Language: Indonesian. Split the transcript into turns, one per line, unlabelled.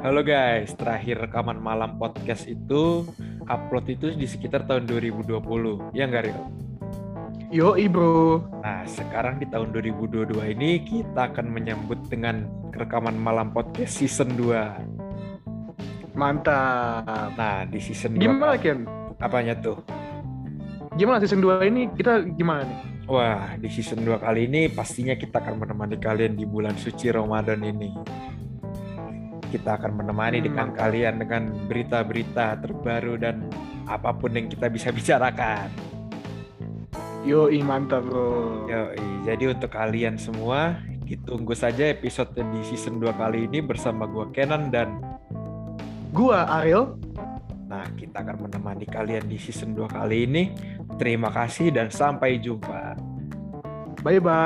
Halo guys, terakhir rekaman malam podcast itu upload itu di sekitar tahun 2020, ya nggak Rio?
Yoi bro,
Nah, sekarang di tahun 2022 ini kita akan menyambut dengan rekaman malam podcast season 2.
mantap.
Nah, di season 2
Gimana Ken?
apanya tuh?
Gimana season 2 ini kita gimana nih?
Wah, di season 2 kali ini pastinya kita akan menemani kalian di bulan suci Ramadan ini. Kita akan menemani
Hmm,
dengan
mantap.
kalian dengan berita-berita terbaru dan apapun yang kita bisa bicarakan.
Yoi mantap bro.
Yoi, jadi untuk kalian semua, ditunggu saja episode di season 2 kali ini bersama gua Kenan dan
Gua Ariel,
nah kita akan menemani kalian di season 2 kali ini. Terima kasih dan sampai jumpa.
bye bye.